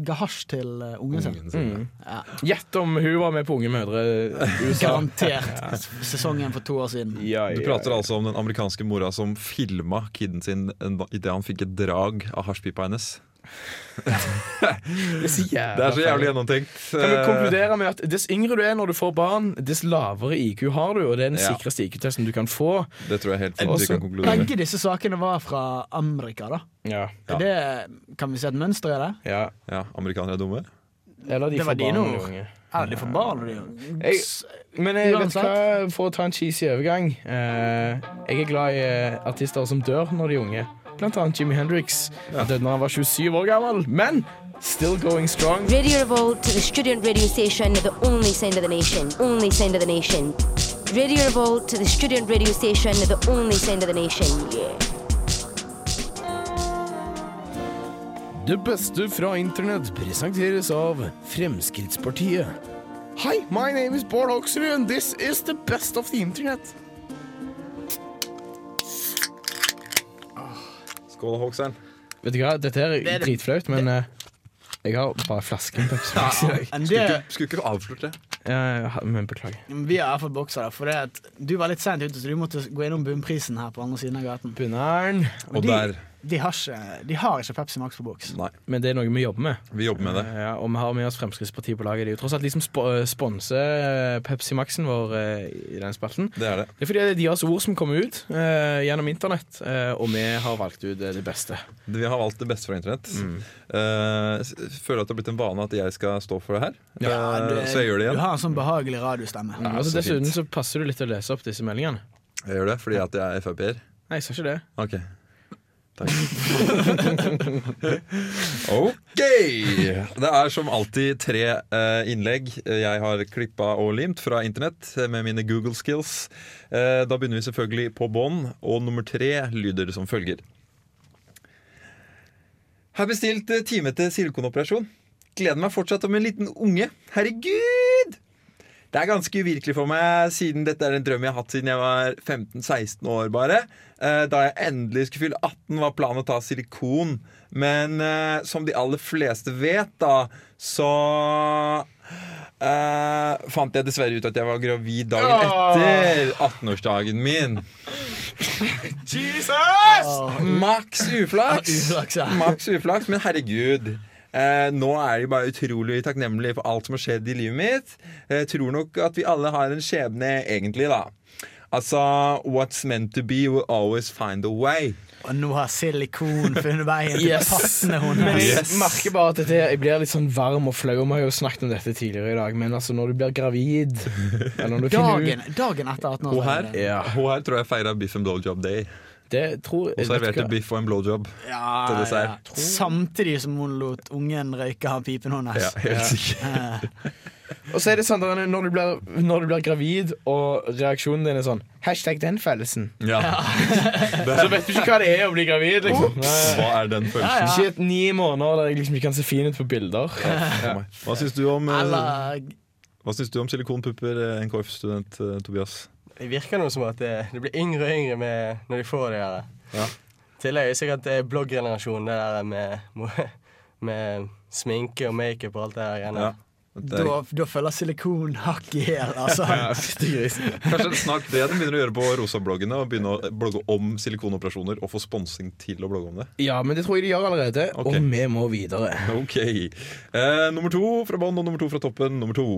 Speaker 3: ga hasj til øh, ungen sin.
Speaker 2: Ungen sin, ja.
Speaker 1: Mm. Gjett om hun var med på Unge mødre USA.
Speaker 3: Garantert. Sesongen for to år siden.
Speaker 1: Ja, ja,
Speaker 2: Du prater altså om den amerikanske mora som filma kiden sin idet han fikk et drag av hasjpipa hennes.
Speaker 1: Det er så jævla
Speaker 2: Det er så jævlig eh,
Speaker 1: feil.
Speaker 2: gjennomtenkt.
Speaker 1: Kan vi konkludere med at Dess yngre du er når du får barn, dess lavere IQ har du, og det er den
Speaker 2: Ja.
Speaker 1: sikreste IQ-testen du kan få.
Speaker 2: Eh, Det tror jeg helt fint vi
Speaker 1: Også-
Speaker 2: kan konkludere med.
Speaker 3: Begge disse sakene var fra Amerika, da.
Speaker 1: Ja,
Speaker 2: Ja.
Speaker 3: Det kan vi se et mønster i det.
Speaker 1: ja.
Speaker 2: Ja, Amerikanere er dumme.
Speaker 1: Eller de
Speaker 3: Det var
Speaker 1: får barn
Speaker 3: dine
Speaker 1: eller
Speaker 3: ord.
Speaker 1: unge.
Speaker 3: Er de for barn? er de jo-
Speaker 1: Jeg, men jeg vet
Speaker 3: Uansett.
Speaker 1: hva, for å ta en cheesy overgang eh, Jeg er glad i eh, artister som dør når de er unge. Blant annet Jimmy Hendrix. Han døde da han var 27 år gammel, men still going strong.
Speaker 9: Radio Revolt, the student radio station, the only sound of the nation, only sound of the nation. Radio Revolt, the student radio station, the only sound of the nation. Yeah.
Speaker 1: Det beste fra internett presenteres av Fremskrittspartiet. Hi, my name is Bård Hoksrud, and this is the best of the internet.
Speaker 2: Skål, Hawksern.
Speaker 1: Vet du hva, dette her er dritflaut, men eh, jeg har bare flasken Pepsi Max i [LAUGHS] dag.
Speaker 3: Men det,
Speaker 2: Skulle ikke avslørt det.
Speaker 1: Eh, Men beklager.
Speaker 3: vi har iallfall boksa, da. For det at du var litt sent ute, så du måtte gå innom bunnprisen her på andre siden av gaten.
Speaker 1: Bunneren.
Speaker 3: Men
Speaker 2: Og
Speaker 3: de,
Speaker 2: der
Speaker 3: de, har ikke, de har ikke Pepsi Max på boks.
Speaker 2: Nei,
Speaker 1: Men det er noe vi jobber med.
Speaker 2: vi jobber med det.
Speaker 1: Ja, og vi har med oss Fremskrittspartiet på laget. De er jo tross alt de som sp sponser eh, Pepsi Maxen vår eh, i den spalten.
Speaker 2: Det er det.
Speaker 1: Det er fordi det er deres ord som kommer ut eh, gjennom internett, eh, og vi har valgt ut eh, det beste.
Speaker 2: Vi har valgt det beste fra internett.
Speaker 3: Mm.
Speaker 2: Eh, s- føler at det har blitt en vane at jeg skal stå for det her. Eh,
Speaker 3: det-
Speaker 2: så jeg gjør det
Speaker 3: Du
Speaker 2: igjen.
Speaker 3: har en sånn behagelig radiostemme.
Speaker 1: Mm, altså,
Speaker 2: så
Speaker 1: dessuten
Speaker 2: fint.
Speaker 1: så passer du litt til å lese opp disse meldingene.
Speaker 2: Jeg gjør det fordi at jeg er Frp-er.
Speaker 1: Nei, jeg sa
Speaker 2: [LAUGHS]
Speaker 1: ikke det.
Speaker 2: Ok. Takk. [LAUGHS] ok! Det er som alltid tre eh, innlegg jeg har klippa og limt fra internett eh, med mine Google skills. Eh, da begynner vi selvfølgelig på bånn, og nummer tre lyder som følger. Har bestilt eh, time til silikonoperasjon. Gleder meg fortsatt om en liten unge. Herregud! Det er ganske uvirkelig for meg, siden dette er en drøm jeg har hatt siden jeg var 15-16 år. bare. Eh, Da jeg endelig skulle fylle 18, var planen å ta silikon. Men eh, som de aller fleste vet, da, så eh, fant jeg dessverre ut at jeg var gravid dagen etter 18-årsdagen min. Maks uflaks!
Speaker 3: Uflaks, ja.
Speaker 2: Maks uflaks, men herregud. Eh, nå er jeg bare utrolig takknemlig for alt som har skjedd i livet mitt. Eh, tror nok at vi alle har en skjebne, egentlig, da. Altså, what's meant to be will always find a way.
Speaker 3: Og nå har silikon funnet veien til
Speaker 1: Yes.
Speaker 2: [LAUGHS]
Speaker 3: passende
Speaker 1: Men
Speaker 3: hundehals.
Speaker 1: jeg
Speaker 2: Yes.
Speaker 1: merker bare at dette, jeg blir litt sånn varm og flau. og Vi har jo snakket om dette tidligere i dag, men altså når du blir gravid eller når du finner ut,
Speaker 3: Dagen, dagen etter 18
Speaker 2: Hun
Speaker 3: år.
Speaker 2: her,
Speaker 1: Ja.
Speaker 2: hun her tror jeg feira biff and blowjob day.
Speaker 1: det tror
Speaker 2: Hun
Speaker 1: vet du
Speaker 2: serverte
Speaker 1: hva?
Speaker 2: biff og en blowjob til
Speaker 3: Ja, ja.
Speaker 2: dessert.
Speaker 3: Samtidig som hun lot ungen røyke av pipen
Speaker 2: Ja,
Speaker 3: hennes.
Speaker 2: helt sikkert.
Speaker 1: Og så er det sånn der, når, du blir, når du blir gravid, og reaksjonen din er sånn Hashtag den følelsen.
Speaker 2: Ja.
Speaker 1: Så vet du ikke hva det er å bli gravid, liksom. Nei.
Speaker 2: Hva er den følelsen?
Speaker 1: Ikke et ni måneder der jeg liksom ikke kan se fin ut på bilder.
Speaker 2: for meg? Hva syns du om, eh,
Speaker 3: Eller
Speaker 2: hva syns du om silikonpupper, eh, NKF-student eh, Tobias?
Speaker 4: Det virker noe som at det, det blir yngre og yngre med, når de får det her.
Speaker 2: Ja.
Speaker 4: Tillegg er det sikkert det er blogggenerasjonen, det der med, [LAUGHS] med sminke og makeup og alt det der greiene.
Speaker 2: Ja. Det er-
Speaker 3: da, da følger silikon hakk i
Speaker 2: [LAUGHS]
Speaker 3: hæl,
Speaker 1: [LAUGHS]
Speaker 3: altså.
Speaker 2: Kanskje det er snart det de begynner å gjøre på Rosa-bloggene. Og begynne å blogge om silikonoperasjoner og få sponsing til å blogge om det.
Speaker 1: Ja, men det tror jeg de gjør allerede,
Speaker 2: Ok.
Speaker 1: og vi må videre.
Speaker 2: Ok eh, Nummer to fra bånn og nummer to fra toppen. Nummer to.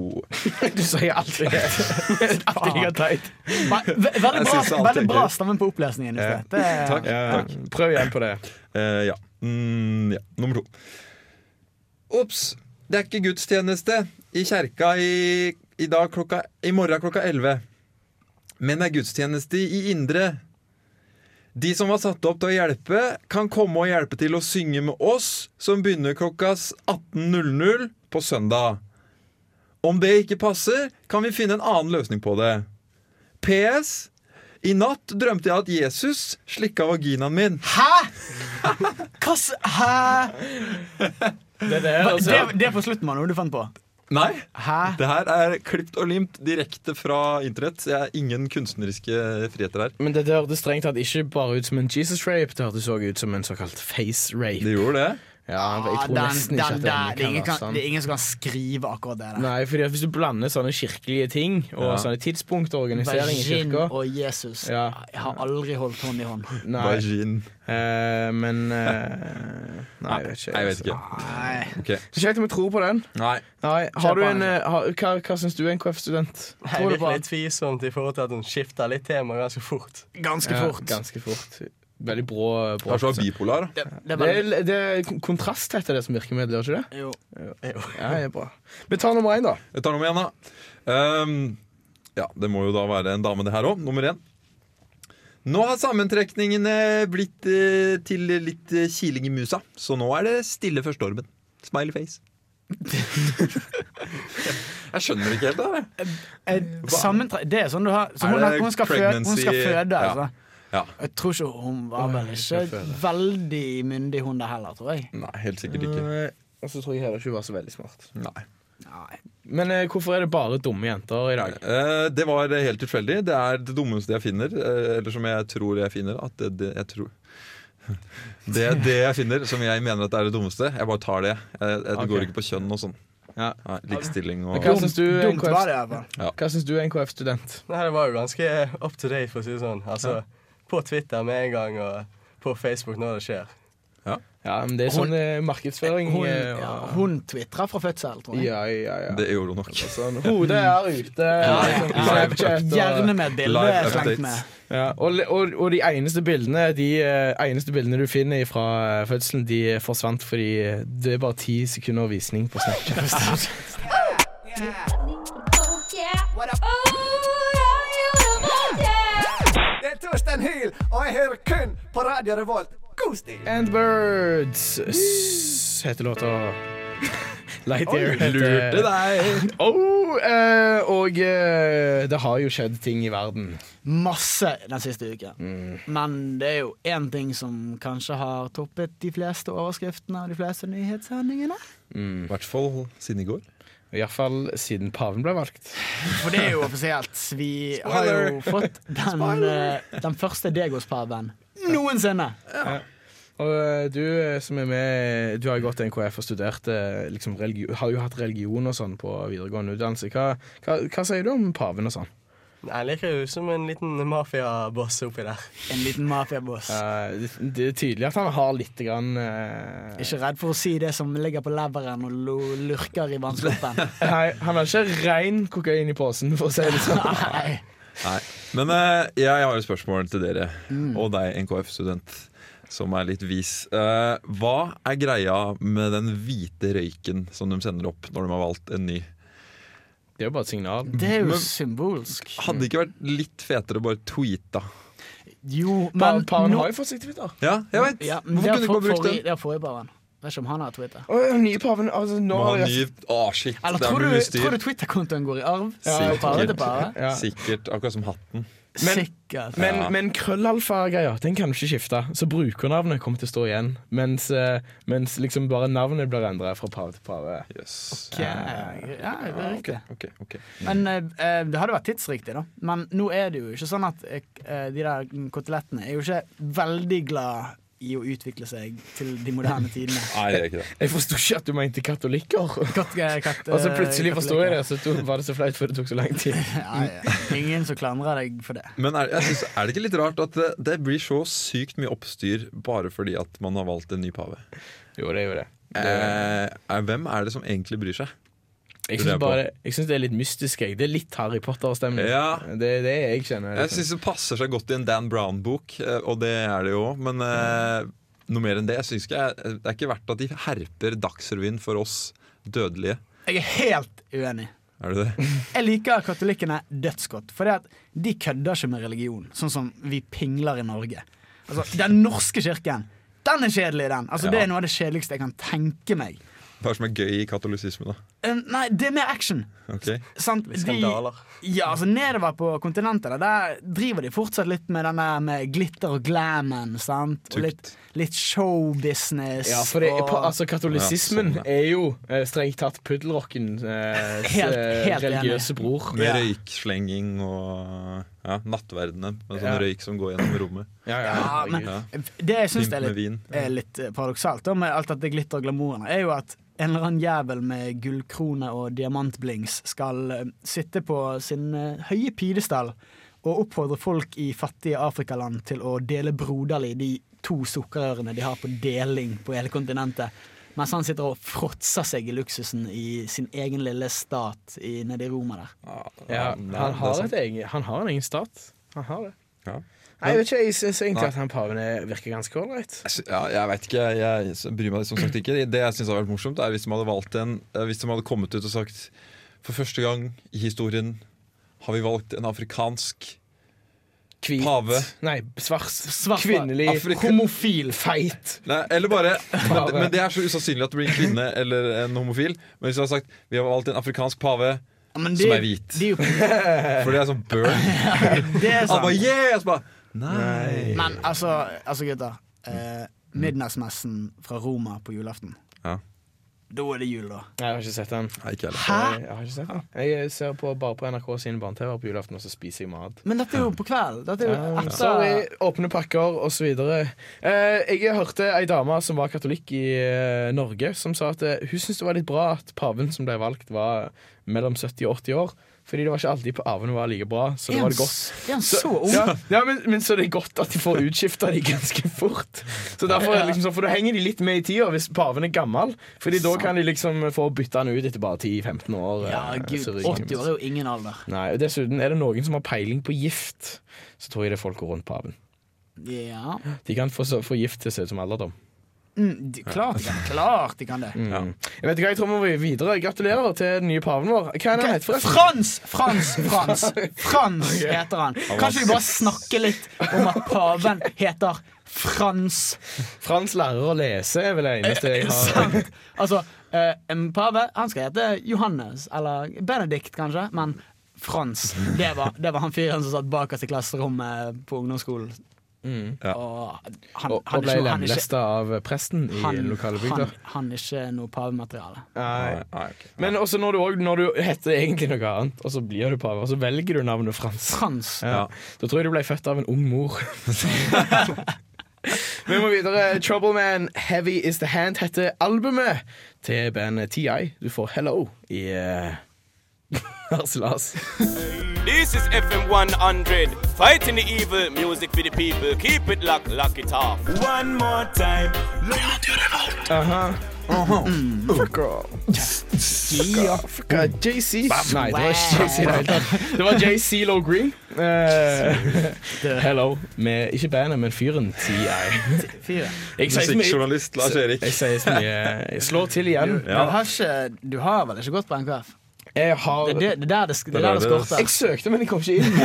Speaker 1: Du sier alltid det. Alltid like teit.
Speaker 3: Nei, ve- Veldig
Speaker 2: Jeg
Speaker 3: bra,
Speaker 2: synes det alltid
Speaker 3: veldig
Speaker 2: er
Speaker 3: bra
Speaker 2: gøy.
Speaker 3: stemmen på opplesningen.
Speaker 2: Eh,
Speaker 3: Jostein. Det-
Speaker 2: Takk. takk.
Speaker 1: Prøv igjen på det.
Speaker 2: Eh, ja. Mm, ja. Nummer to. Ops, det er ikke gudstjeneste i kjerka i, i, dag klokka, i morgen klokka 11. Men det er gudstjeneste i Indre. De som var satt opp til å hjelpe, kan komme og hjelpe til å synge med oss, som begynner klokka 18.00 på søndag. Om det ikke passer, kan vi finne en annen løsning på det. PS. I natt drømte jeg at Jesus slikka vaginaen min.
Speaker 3: Hæ?! [LAUGHS] Hva s... Hæ?
Speaker 1: Det der,
Speaker 3: Hva-
Speaker 1: altså.
Speaker 3: Det, det er på slutten, mann. Noe du fant på?
Speaker 2: Nei,
Speaker 3: Hæ?
Speaker 2: det her er klipt og limt direkte fra internett. Jeg har ingen kunstneriske friheter her.
Speaker 1: Men dette hørtes strengt tatt ikke bare ut som en Jesus rape, det hørtes også ut som en såkalt face rape.
Speaker 2: Det gjorde det.
Speaker 1: Ja, jeg tror
Speaker 3: Ah,
Speaker 1: nesten ikke at
Speaker 3: der, det, er
Speaker 1: den
Speaker 3: ingen
Speaker 1: kan være
Speaker 3: kan,
Speaker 1: sann.
Speaker 3: det sånn. er ingen som kan skrive akkurat det der.
Speaker 1: Nei, fordi at hvis du blander sånne kirkelige ting og
Speaker 2: Ja.
Speaker 1: sånne tidspunkt og organisering i
Speaker 3: Vagin
Speaker 1: kirka
Speaker 3: og Jesus.
Speaker 1: ja,
Speaker 3: Jeg har aldri holdt hånd i hånd.
Speaker 1: Nei,
Speaker 2: Vagin.
Speaker 1: eh, men eh, Nei, jeg vet ikke.
Speaker 2: Jeg vet ikke.
Speaker 3: Nei.
Speaker 2: Ok.
Speaker 1: Ikke helt om jeg tror på den.
Speaker 2: Nei.
Speaker 1: Nei, har du
Speaker 3: på
Speaker 1: en,
Speaker 3: den,
Speaker 1: eh, har, hva hva syns du, NKF-student?
Speaker 4: Det er virkelig tvilsomt i forhold til at hun skifter litt tema ganske fort.
Speaker 3: Ganske
Speaker 1: Ja,
Speaker 3: fort.
Speaker 1: ganske fort. Veldig brå. brå
Speaker 2: Kanskje det var bipolar. da.
Speaker 3: Det, det er
Speaker 1: det,
Speaker 3: veldig
Speaker 1: er, det er kontrast heter det som virkemiddel, gjør ikke det?
Speaker 3: Jo.
Speaker 1: Ja, det er bra. Vi tar nummer én, da.
Speaker 2: Jeg tar nummer én, da. Ehm, ja, det må jo da være en dame, det her òg. Nummer én. Nå har sammentrekningene blitt eh, til litt eh, kiling i musa, så nå er det stille før stormen. Smiley [LAUGHS] face. jeg skjønner ikke helt det her. jeg.
Speaker 3: Eh, sammentre... Det er sånn du har så
Speaker 2: Er
Speaker 3: hun, har-
Speaker 2: det
Speaker 3: hun, skal føde, hun skal
Speaker 2: pregnancy-
Speaker 3: føde,
Speaker 2: Ja.
Speaker 3: altså.
Speaker 2: Ja.
Speaker 3: Jeg tror ikke hun var vel ikke
Speaker 1: altså.
Speaker 3: veldig myndig, hun der heller, tror jeg.
Speaker 2: Nei, helt sikkert ikke.
Speaker 1: Nei, Eh, Og så tror jeg heller ikke hun var så veldig smart.
Speaker 2: Nei.
Speaker 3: Nei.
Speaker 1: Men eh, hvorfor er det bare dumme jenter i dag?
Speaker 2: Eh, Det var helt tilfeldig. Det er det dummeste jeg finner. eh, Eller som jeg tror jeg finner. At det, det, jeg tror. [LAUGHS] det er det jeg finner som jeg mener at det er det dummeste. Jeg bare tar det. Jeg, jeg
Speaker 1: Ok.
Speaker 2: går ikke på kjønn og sånn.
Speaker 1: Ja.
Speaker 2: Nei, Likestilling
Speaker 1: Men
Speaker 2: og
Speaker 1: hva syns du,
Speaker 3: Dumt
Speaker 1: NKF
Speaker 3: var det, i hvert fall.
Speaker 1: Hva syns du, NKF-student?
Speaker 4: Nei, det var jo ganske up to date, for å si det sånn. Altså, På Twitter med en gang, og på Facebook når det skjer.
Speaker 1: Ja, men Det er sånn
Speaker 3: Hun-
Speaker 1: eh, markedsføring.
Speaker 3: Hun,
Speaker 1: eh,
Speaker 3: ja,
Speaker 1: og-
Speaker 3: hun tvitra fra fødsel, tror jeg.
Speaker 1: ja, ja, ja.
Speaker 2: Det gjorde hun nok.
Speaker 1: Sånn, hodet er ute. liksom, Snapchat og-
Speaker 3: Gjerne med et bilde
Speaker 2: Live
Speaker 3: slengt
Speaker 2: updates.
Speaker 3: med.
Speaker 1: Ja, og, og, og de eneste bildene De eh, eneste bildene du finner fra eh, fødselen, de forsvant fordi det er bare ti sekunder visning på
Speaker 3: [LAUGHS]
Speaker 1: Snapchat.
Speaker 10: Det er Torstein Hyl, og jeg hører kun på Radio Revolt. God stil!
Speaker 1: And Birds s- heter låta. Lightyear heter
Speaker 2: Lurte deg!
Speaker 1: Oh, eh, og eh, det har jo skjedd ting i verden.
Speaker 3: Masse den siste uken.
Speaker 2: Mm.
Speaker 3: Men det er jo én ting som kanskje har toppet de fleste overskriftene og de fleste nyhetssendingene.
Speaker 2: I hvert fall siden i går.
Speaker 1: Iallfall siden paven ble valgt.
Speaker 3: For det er jo offisielt. Vi har jo fått den, eh, den første Degos-paven noensinne.
Speaker 1: Og eh, du eh, som er med, du har jo gått til NKF og studert eh, liksom religi- Har jo hatt religion og sånn på videregående utdannelse. Hva, hva, hva sier du om paven og sånn?
Speaker 4: Nei, Jeg liker jo som en liten mafiaboss oppi der.
Speaker 3: En liten mafiaboss.
Speaker 1: Eh, det, det er tydelig at han har litt grann, eh,
Speaker 2: [LAUGHS]
Speaker 3: Ikke redd for å si det som ligger på leveren og lo-
Speaker 1: [LAUGHS]
Speaker 3: lurker i vannskorpen.
Speaker 1: Nei, han har ikke rein kokain i posen, for å si det sånn.
Speaker 3: Nei.
Speaker 2: Nei. Men eh, jeg har et spørsmål til dere,
Speaker 11: Mm.
Speaker 2: og deg, NKF-student, som er litt vis. Eh, hva er greia med den hvite røyken som de sender opp når de har valgt en ny?
Speaker 1: Det er jo bare et signal.
Speaker 3: Det er jo symbolsk.
Speaker 2: Hadde det ikke vært litt fetere å bare tweeta?
Speaker 3: Jo,
Speaker 1: men
Speaker 3: men
Speaker 1: Paren
Speaker 3: nå-
Speaker 1: har jo fått sitt Twitter.
Speaker 2: Ja, jeg vet.
Speaker 3: Ja, men
Speaker 2: Hvorfor kunne du ikke
Speaker 3: det har
Speaker 2: bare brukt
Speaker 3: forrige-
Speaker 2: den?
Speaker 3: Det har forrige paven. Vet ikke om han har Twitter.
Speaker 1: Å, nye paven altså, nå
Speaker 2: Må
Speaker 1: har
Speaker 2: ha
Speaker 1: jeg-
Speaker 2: ny Å, shit,
Speaker 3: Eller
Speaker 2: det
Speaker 3: tror
Speaker 2: blir
Speaker 3: du,
Speaker 2: mye styr.
Speaker 3: tror du Twitter-kontoen går i arv? Fra pare til
Speaker 2: Sikkert.
Speaker 3: pare?
Speaker 2: Sikkert. Akkurat som hatten.
Speaker 1: Men,
Speaker 3: Sikkert.
Speaker 1: men,
Speaker 2: Ja.
Speaker 1: men krøllalfa-greia Den kan du ikke skifte, så brukernavnet kommer til å stå igjen. Mens, eh, mens liksom bare navnet blir endret fra pave til pave.
Speaker 2: Yes.
Speaker 3: Ok, ja, det er riktig.
Speaker 2: Ok, ok.
Speaker 3: Men eh, eh, det hadde vært tidsriktig, da. Men nå er det jo ikke sånn at eh, de der kotelettene er jo ikke veldig glad i å utvikle seg til de moderne tidene.
Speaker 2: Nei, det er ikke det.
Speaker 1: Jeg forsto ikke at du mente katolikker.
Speaker 3: Kat, eh, kat,
Speaker 1: Og så plutselig
Speaker 3: eh,
Speaker 1: forsto jeg det, så to- var det så flaut, for det tok så lang tid.
Speaker 3: Nei, ingen som klandrer deg for det.
Speaker 2: Men er, jeg synes, er det ikke litt rart at det, det blir så sykt mye oppstyr bare fordi at man har valgt en ny pave?
Speaker 1: Jo, det er jo det.
Speaker 2: Eh, er- hvem er det som egentlig bryr seg?
Speaker 1: Jeg
Speaker 2: Lurer
Speaker 1: syns
Speaker 2: jeg
Speaker 1: bare-
Speaker 2: på.
Speaker 1: jeg syns det er litt mystisk. Jeg. Det er litt Harry Potter-stemning.
Speaker 2: Mm. Ja.
Speaker 1: Det er det jeg kjenner. liksom.
Speaker 2: Jeg syns det passer seg godt i en Dan Brown-bok, eh, og det er det jo òg, men eh, noe mer enn det. Jeg synes ikke jeg, Det er ikke verdt at de herper Dagsrevyen for oss dødelige.
Speaker 3: Jeg er helt uenig.
Speaker 2: Er det det?
Speaker 3: Jeg liker katolikkene dødsgodt, for de kødder ikke med religion, sånn som vi pingler i Norge. Altså, den norske kirken, den er kjedelig, den. Altså, Det
Speaker 2: Ja.
Speaker 3: er noe av det kjedeligste jeg kan tenke meg.
Speaker 2: Hva er det som er gøy i katolisisme, da?
Speaker 3: Eh, nei, det er mer action.
Speaker 2: Ok?
Speaker 3: Sant? De-
Speaker 2: Skandaler.
Speaker 3: ja, altså Nedover på kontinentet der, der driver de fortsatt litt med denne med glitter og glammen. Sant? Og litt, litt showbusiness.
Speaker 1: Ja, for det,
Speaker 3: og-
Speaker 1: på, altså, katolisismen
Speaker 2: sånn,
Speaker 1: er jo eh, strengt tatt puddelrockens eh, s-
Speaker 3: Helt- helt enig.
Speaker 1: religiøse bror.
Speaker 2: Med røykslenging og ja, nattverdene. Med sånn
Speaker 1: Ja.
Speaker 2: røyk som går gjennom rommet.
Speaker 3: Ja, men det jeg syns
Speaker 2: Pimp
Speaker 3: er
Speaker 2: med
Speaker 3: litt,
Speaker 2: vin.
Speaker 3: er litt eh, paradoksalt, da, med alt dette glitter og glamouren, er jo at en eller annen jævel med gullkrone og diamantblings skal eh, sitte på sin eh, høye pidestall og oppfordre folk i fattige afrikaland til å dele broderlig de to sukkerørene de har på deling på hele kontinentet. Mens han sitter og fråtser seg i luksusen i sin egen lille stat i, nede i Roma der.
Speaker 2: Ah,
Speaker 1: Ja,
Speaker 3: Nei,
Speaker 1: han,
Speaker 3: det er
Speaker 1: har
Speaker 3: sant.
Speaker 1: et egen, han har en egen stat. Han har det.
Speaker 2: Ja.
Speaker 1: Nei, jeg vet ikke, jeg syns egentlig
Speaker 2: Nei.
Speaker 1: at han paven er- virker ganske ålreit.
Speaker 2: Jeg sy- Ja, jeg vet ikke, jeg s- bryr meg som sagt ikke. Det jeg syns har vært morsomt, er hvis de hadde valgt en eh, Hvis de hadde kommet ut og sagt For første gang i historien har vi valgt en afrikansk pave.
Speaker 1: Nei, svart.
Speaker 3: Svart
Speaker 1: Kvinnelig,
Speaker 2: Afrika-
Speaker 1: homofil, feit.
Speaker 2: Nei, eller bare men,
Speaker 1: Pave.
Speaker 2: men det er så usannsynlig at det blir en kvinne eller en homofil. Men hvis du hadde sagt vi har valgt en afrikansk pave
Speaker 3: men
Speaker 2: som
Speaker 3: det-
Speaker 2: er hvit.
Speaker 3: det er jo-
Speaker 2: For det er sånn burn.
Speaker 1: [LAUGHS]
Speaker 3: Det er sant.
Speaker 2: [LAUGHS] Han bare, yeah! Og så bare Nei.
Speaker 3: Men altså, altså gutter. Eh, midnattsmessen fra Roma på julaften.
Speaker 2: Ja.
Speaker 3: Da er det jul, da.
Speaker 1: Nei, jeg har ikke sett den.
Speaker 3: Hæ?
Speaker 1: Jeg, jeg har ikke sett den. Jeg ser på, bare på NRK sine barne-TV på julaften, og så spiser jeg mat.
Speaker 3: Men dette er jo på kvelden. Dette er jo
Speaker 1: Ja,
Speaker 3: etter
Speaker 1: Eh, Sorry, åpne pakker og så videre Eh, jeg hørte ei dame som var katolikk i eh, Norge, som sa at eh, hun syntes det var litt bra at paven som ble valgt, var mellom 70 og 80 år. Fordi det var ikke alltid pavene var like bra. Så det
Speaker 3: Er han
Speaker 1: var det godt
Speaker 3: s- er han så ung?
Speaker 1: Ja, ja men, men så det er godt at de får utskifta de ganske fort. Så derfor er det liksom sånn, For da henger de litt med i tida hvis paven er gammel. Fordi da kan de liksom få bytta han ut etter bare 10-15 år.
Speaker 3: Ja,
Speaker 1: eh,
Speaker 3: gud.
Speaker 1: så det-
Speaker 3: 80 år er jo ingen alder.
Speaker 1: Nei, og Dessuten, er det noen som har peiling på gift, så tror jeg det er folka rundt paven.
Speaker 3: Ja.
Speaker 1: De kan få, få gift til seg ut som alderdom.
Speaker 3: Mm, de, klart de kan klart de kan det.
Speaker 1: Mm. Jeg vet ikke hva jeg tror vi må videre. Gratulerer til den nye paven vår. Hva er det han heter forresten?
Speaker 3: Frans, Frans, Frans
Speaker 1: [LAUGHS]
Speaker 3: Frans heter han. Kanskje vi bare snakke litt om at paven heter Frans?
Speaker 1: Frans lærer å lese er vel det eneste
Speaker 3: Eh,
Speaker 1: jeg har.
Speaker 3: Sant. Altså, eh, en pave han skal hete Johannes, eller Benedikt kanskje, men Frans. Det var, det var han fyren som satt bakerst i klasserommet på ungdomsskolen.
Speaker 1: Mm.
Speaker 3: Og han,
Speaker 1: Og,
Speaker 3: han
Speaker 1: og
Speaker 3: er
Speaker 1: ble
Speaker 3: ikke- han er ikke-
Speaker 1: lemlesta av presten i
Speaker 3: han,
Speaker 1: den lokale
Speaker 3: han,
Speaker 1: bygda.
Speaker 3: han er ikke noe pavemateriale.
Speaker 1: Nei. Men også når du, også- når du heter egentlig noe annet, og så blir du pave, og så velger du navnet Frans.
Speaker 3: Frans.
Speaker 1: Ja. Da tror jeg du ble født av en ung mor. [LAUGHS] Vi må videre. Troubleman Heavy Is The Hand heter albumet til bandet TI. Du får Hello i eh, [LAUGHS] Harselas.
Speaker 12: This is FM 100, fighting the evil, music for the people. Keep it locked, lock it off. One more time.
Speaker 1: Aha. Fuck off. JC uh, Nei, det var ikke JC i det hele tatt. Det var JC Low Green. Eh, hello. Med, ikke bandet, men fyren TI.
Speaker 3: Fire.
Speaker 1: Jeg sier så mye-
Speaker 2: Musikkjournalist Lars Erik.
Speaker 1: Jeg sier så mye. Jeg slår til igjen.
Speaker 3: Du, har ikke, du har vel ikke gått på NKF?
Speaker 1: Jeg har
Speaker 3: Det er det- det er der det, sk- det, er der det
Speaker 1: Jeg
Speaker 3: skorter.
Speaker 1: søkte, men jeg kom ikke inn. [LAUGHS]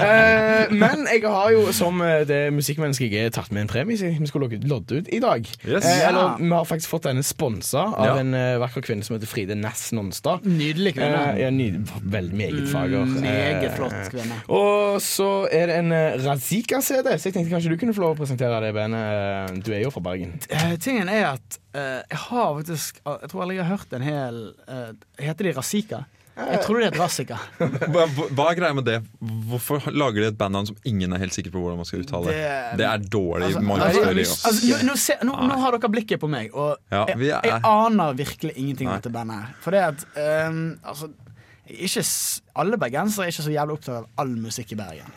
Speaker 1: Eh, men jeg har jo, som eh, det musikkmennesket jeg er, tatt med en premie som vi skulle lodde- lodde ut i dag.
Speaker 2: Yes.
Speaker 1: Eh,
Speaker 3: Ja.
Speaker 1: eller vi har faktisk fått denne sponsa av
Speaker 2: Ja.
Speaker 1: en eh, vakker kvinne som heter Fride Næss Nonstad.
Speaker 3: Nydelig kvinne. Mm,
Speaker 1: Eh, ja, ny, veldig meget fager.
Speaker 3: Meget
Speaker 1: Eh,
Speaker 3: flott kvinne.
Speaker 1: Og så er det en eh, Razika-CD, så jeg tenkte kanskje du kunne få lov å presentere det bandet. Du er jo fra Bergen.
Speaker 3: Eh, tingen er at eh, jeg har faktisk Jeg tror aldri jeg har hørt en hel eh, Heter de Razika?
Speaker 1: Eh.
Speaker 3: Jeg tror det er Razika.
Speaker 2: Hva, hva er greia med det? Hvorfor lager de et bandnavn som ingen er helt sikker på hvordan man skal uttale?
Speaker 3: Det-
Speaker 2: Det, er dårlig
Speaker 3: Altså,
Speaker 2: markedsføring.
Speaker 3: altså,
Speaker 2: ass.
Speaker 3: altså, nå, nå, ser- nå, nå har dere blikket på meg, og
Speaker 2: Ja,
Speaker 3: jeg,
Speaker 2: vi er-
Speaker 3: jeg aner virkelig ingenting om
Speaker 2: Nei.
Speaker 3: dette bandet. her. For det at ehm, altså, jeg er ikke, s- alle bergensere er ikke så jævlig opptatt av all musikk i Bergen.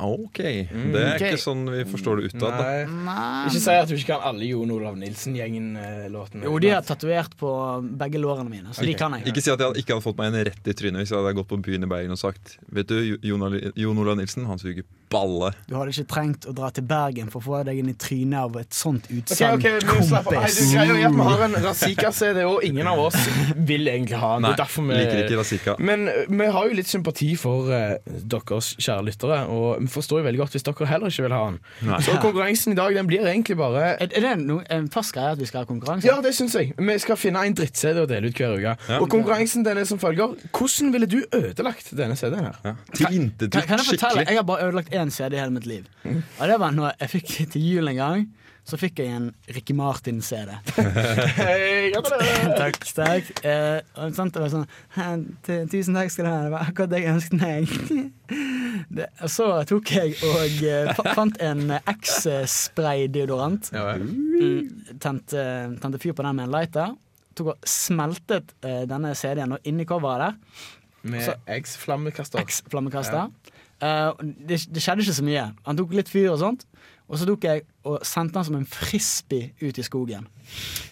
Speaker 2: Ah, OK. Det er
Speaker 3: ok.
Speaker 2: ikke sånn vi forstår det utad. da.
Speaker 3: Nei.
Speaker 1: Ikke si at du ikke kan alle Jon Olav eh, Nilsen-gjengen-låtene.
Speaker 3: Jo, de har tatovert på begge lårene mine, så de kan jeg.
Speaker 2: Ikke si at jeg hadde- ikke hadde fått meg en rett i trynet hvis jeg hadde gått på byen i Bergen og sagt Vet du, Jo- Jon Ali- Jon Olav Nilsen, han suger balle.
Speaker 3: Du hadde ikke trengt å dra til Bergen for å få deg inn i trynet av et sånt
Speaker 1: Ok,
Speaker 3: utsagn,
Speaker 1: ok, vi slapper av. Nei,
Speaker 3: kompis.
Speaker 1: du greier jo at Vi har en Razika-CD, og ingen av oss vil egentlig ha den.
Speaker 2: Nei,
Speaker 1: Det er derfor vi
Speaker 2: liker ikke Razika.
Speaker 1: Men eh, vi har jo litt sympati for eh, deres kjære lyttere, og vi forstår jo veldig godt hvis dere heller ikke vil ha den.
Speaker 2: Nei.
Speaker 1: Så konkurransen i dag den blir egentlig bare
Speaker 3: Er, er det no, en fast greie at vi skal ha konkurranse?
Speaker 1: ja, det syns jeg. Vi skal finne en dritt-CD å dele ut hver uke. Og konkurransen den er som følger. Hvordan ville du ødelagt denne CD-en her?
Speaker 2: Ja. Tilintetgjort,
Speaker 3: Kan, kan jeg fortelle?
Speaker 2: skikkelig.
Speaker 3: Jeg har bare ødelagt én CD i hele mitt liv. Og det var når jeg fikk til jul en gang. Så fikk jeg en Ricky Martin-CD.
Speaker 1: Hei, gratulerer!
Speaker 3: takk. takk. Eh, og sant, det var sånn «Hæ, tu- Tusen takk skal du ha, det var akkurat det jeg ønsket meg. [LAUGHS] Det, og så tok jeg og eh, fa- fant en eh, X-spray-deodorant.
Speaker 1: Ja, vel.
Speaker 3: Mm, tente, tente fyr på den med en lighter. Tok og smeltet eh, denne CD-en, og inni coveret der
Speaker 1: Med
Speaker 3: Så-
Speaker 1: X-flammekaster.
Speaker 3: X-flammekaster. Eh, det, det skjedde ikke så mye. Han tok litt fyr og sånt. Og så tok jeg og sendte han som en frisbee ut i skogen.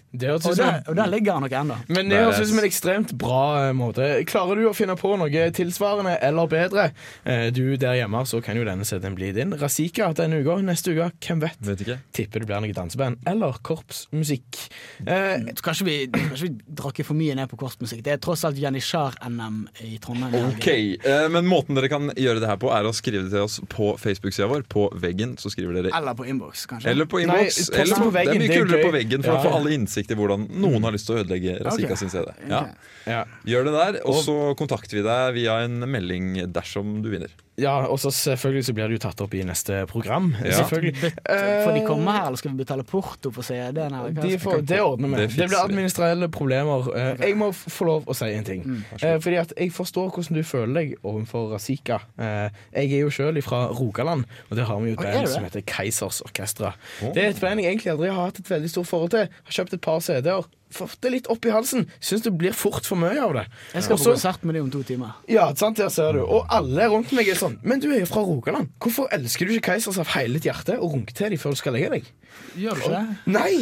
Speaker 1: Det høres
Speaker 3: Og
Speaker 1: ut som
Speaker 3: der, og der ligger han nok ennå.
Speaker 1: Men det
Speaker 2: Nei,
Speaker 1: høres
Speaker 2: det
Speaker 1: ut
Speaker 2: er-
Speaker 1: som en ekstremt bra eh, måte. Klarer du å finne på noe tilsvarende eller bedre? Eh, Du der hjemme, så kan jo denne CD-en bli din. Razika denne uka, neste uke, hvem vet?
Speaker 2: Vet ikke.
Speaker 1: Tipper det blir noe danseband eller korpsmusikk. Eh,
Speaker 3: Kanskje vi, kanskje vi drakk for mye ned på kortmusikk. Det er tross alt Janitsjar-NM i Trondheim. i helgen.
Speaker 2: Ok, eh, Men måten dere kan gjøre det her på, er å skrive det til oss på Facebook-sida vår. På veggen. så skriver dere
Speaker 3: Eller på innboks, kanskje.
Speaker 2: Eller på
Speaker 1: Nei,
Speaker 2: innboks.
Speaker 1: post
Speaker 2: eller-
Speaker 1: på
Speaker 2: Det
Speaker 1: veggen,
Speaker 2: er mye
Speaker 1: det er
Speaker 2: kulere
Speaker 1: gøy.
Speaker 2: på veggen for
Speaker 1: Ja.
Speaker 2: å få alle innsikt i hvordan noen har lyst til å ødelegge Razika
Speaker 3: Ok.
Speaker 2: sin CD. Ja.
Speaker 3: Ok.
Speaker 1: ja.
Speaker 2: Gjør det der, og så kontakter vi deg via en melding dersom du vinner.
Speaker 1: ja, og så selvfølgelig så blir det jo tatt opp i neste program.
Speaker 2: Ja.
Speaker 1: Selvfølgelig.
Speaker 3: Får de komme her, eller skal vi betale porto for CD-en? eller hva?
Speaker 1: De får, det ordner vi.
Speaker 2: Det
Speaker 1: Det,
Speaker 2: fikser
Speaker 1: blir
Speaker 2: vi.
Speaker 1: administrelle problemer. Eh, Jeg må f- få lov å si en ting.
Speaker 3: Mm.
Speaker 1: Eh, fordi at jeg forstår hvordan du føler deg overfor Razika. Eh, jeg er jo sjøl fra Rogaland, og der har vi jo et
Speaker 3: Å, er
Speaker 1: band
Speaker 3: du det?
Speaker 1: som heter Keisers Orkestra. Det er et band jeg egentlig aldri har hatt et veldig stort forhold til. Har kjøpt et par CD-er. Fått det litt opp i halsen. Syns det blir fort for mye av det.
Speaker 3: Jeg skal
Speaker 1: Og
Speaker 3: på
Speaker 1: så-
Speaker 3: konsert med de om to timer.
Speaker 1: ja, sant, der ser du. Og alle rundt meg er sånn. Men du er jo fra Rogaland. Hvorfor elsker du ikke Keisers av hele ditt hjerte og runker til dem før du skal legge deg?
Speaker 3: Gjør du ikke det?
Speaker 1: Nei!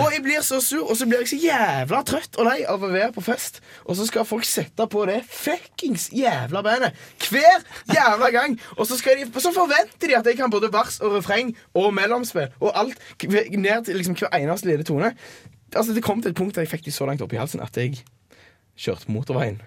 Speaker 1: Og jeg blir så sur, og så blir jeg så jævla trøtt og lei av å være på fest. Og så skal folk sette på det fuckings jævla bandet hver jævla gang. Og så, skal de, så forventer de at jeg kan både vers og refreng og mellomspill og alt k- ned til liksom hver eneste lille tone. Altså Det kom til et punkt der jeg fikk det så langt opp i halsen at jeg kjørte motorveien.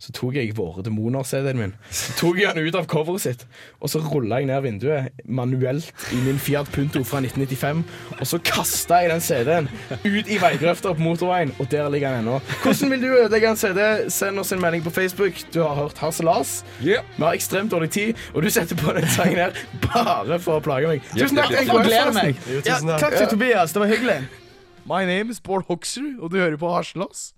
Speaker 1: Så tok jeg Våre demoner-CD-en min Så tok jeg den ut av coveret sitt. Og så rulla jeg ned vinduet manuelt i min Fiat Punto fra 1995. Og så kasta jeg den CD-en ut i veigrøfta på motorveien, og der ligger den ennå. Hvordan vil du ødelegge en CD? Send oss en melding på Facebook. Du har hørt Hasse-Lars.
Speaker 2: Yeah.
Speaker 1: Vi har ekstremt dårlig tid, og du setter på den sangen her bare for å plage meg. Tusen takk.
Speaker 2: Hjertelig.
Speaker 1: Jeg gleder meg.
Speaker 4: Jo, tusen takk.
Speaker 3: Takk til Tobias, det var hyggelig.
Speaker 13: My name is Bård Hoksrud, og du hører på Harselas.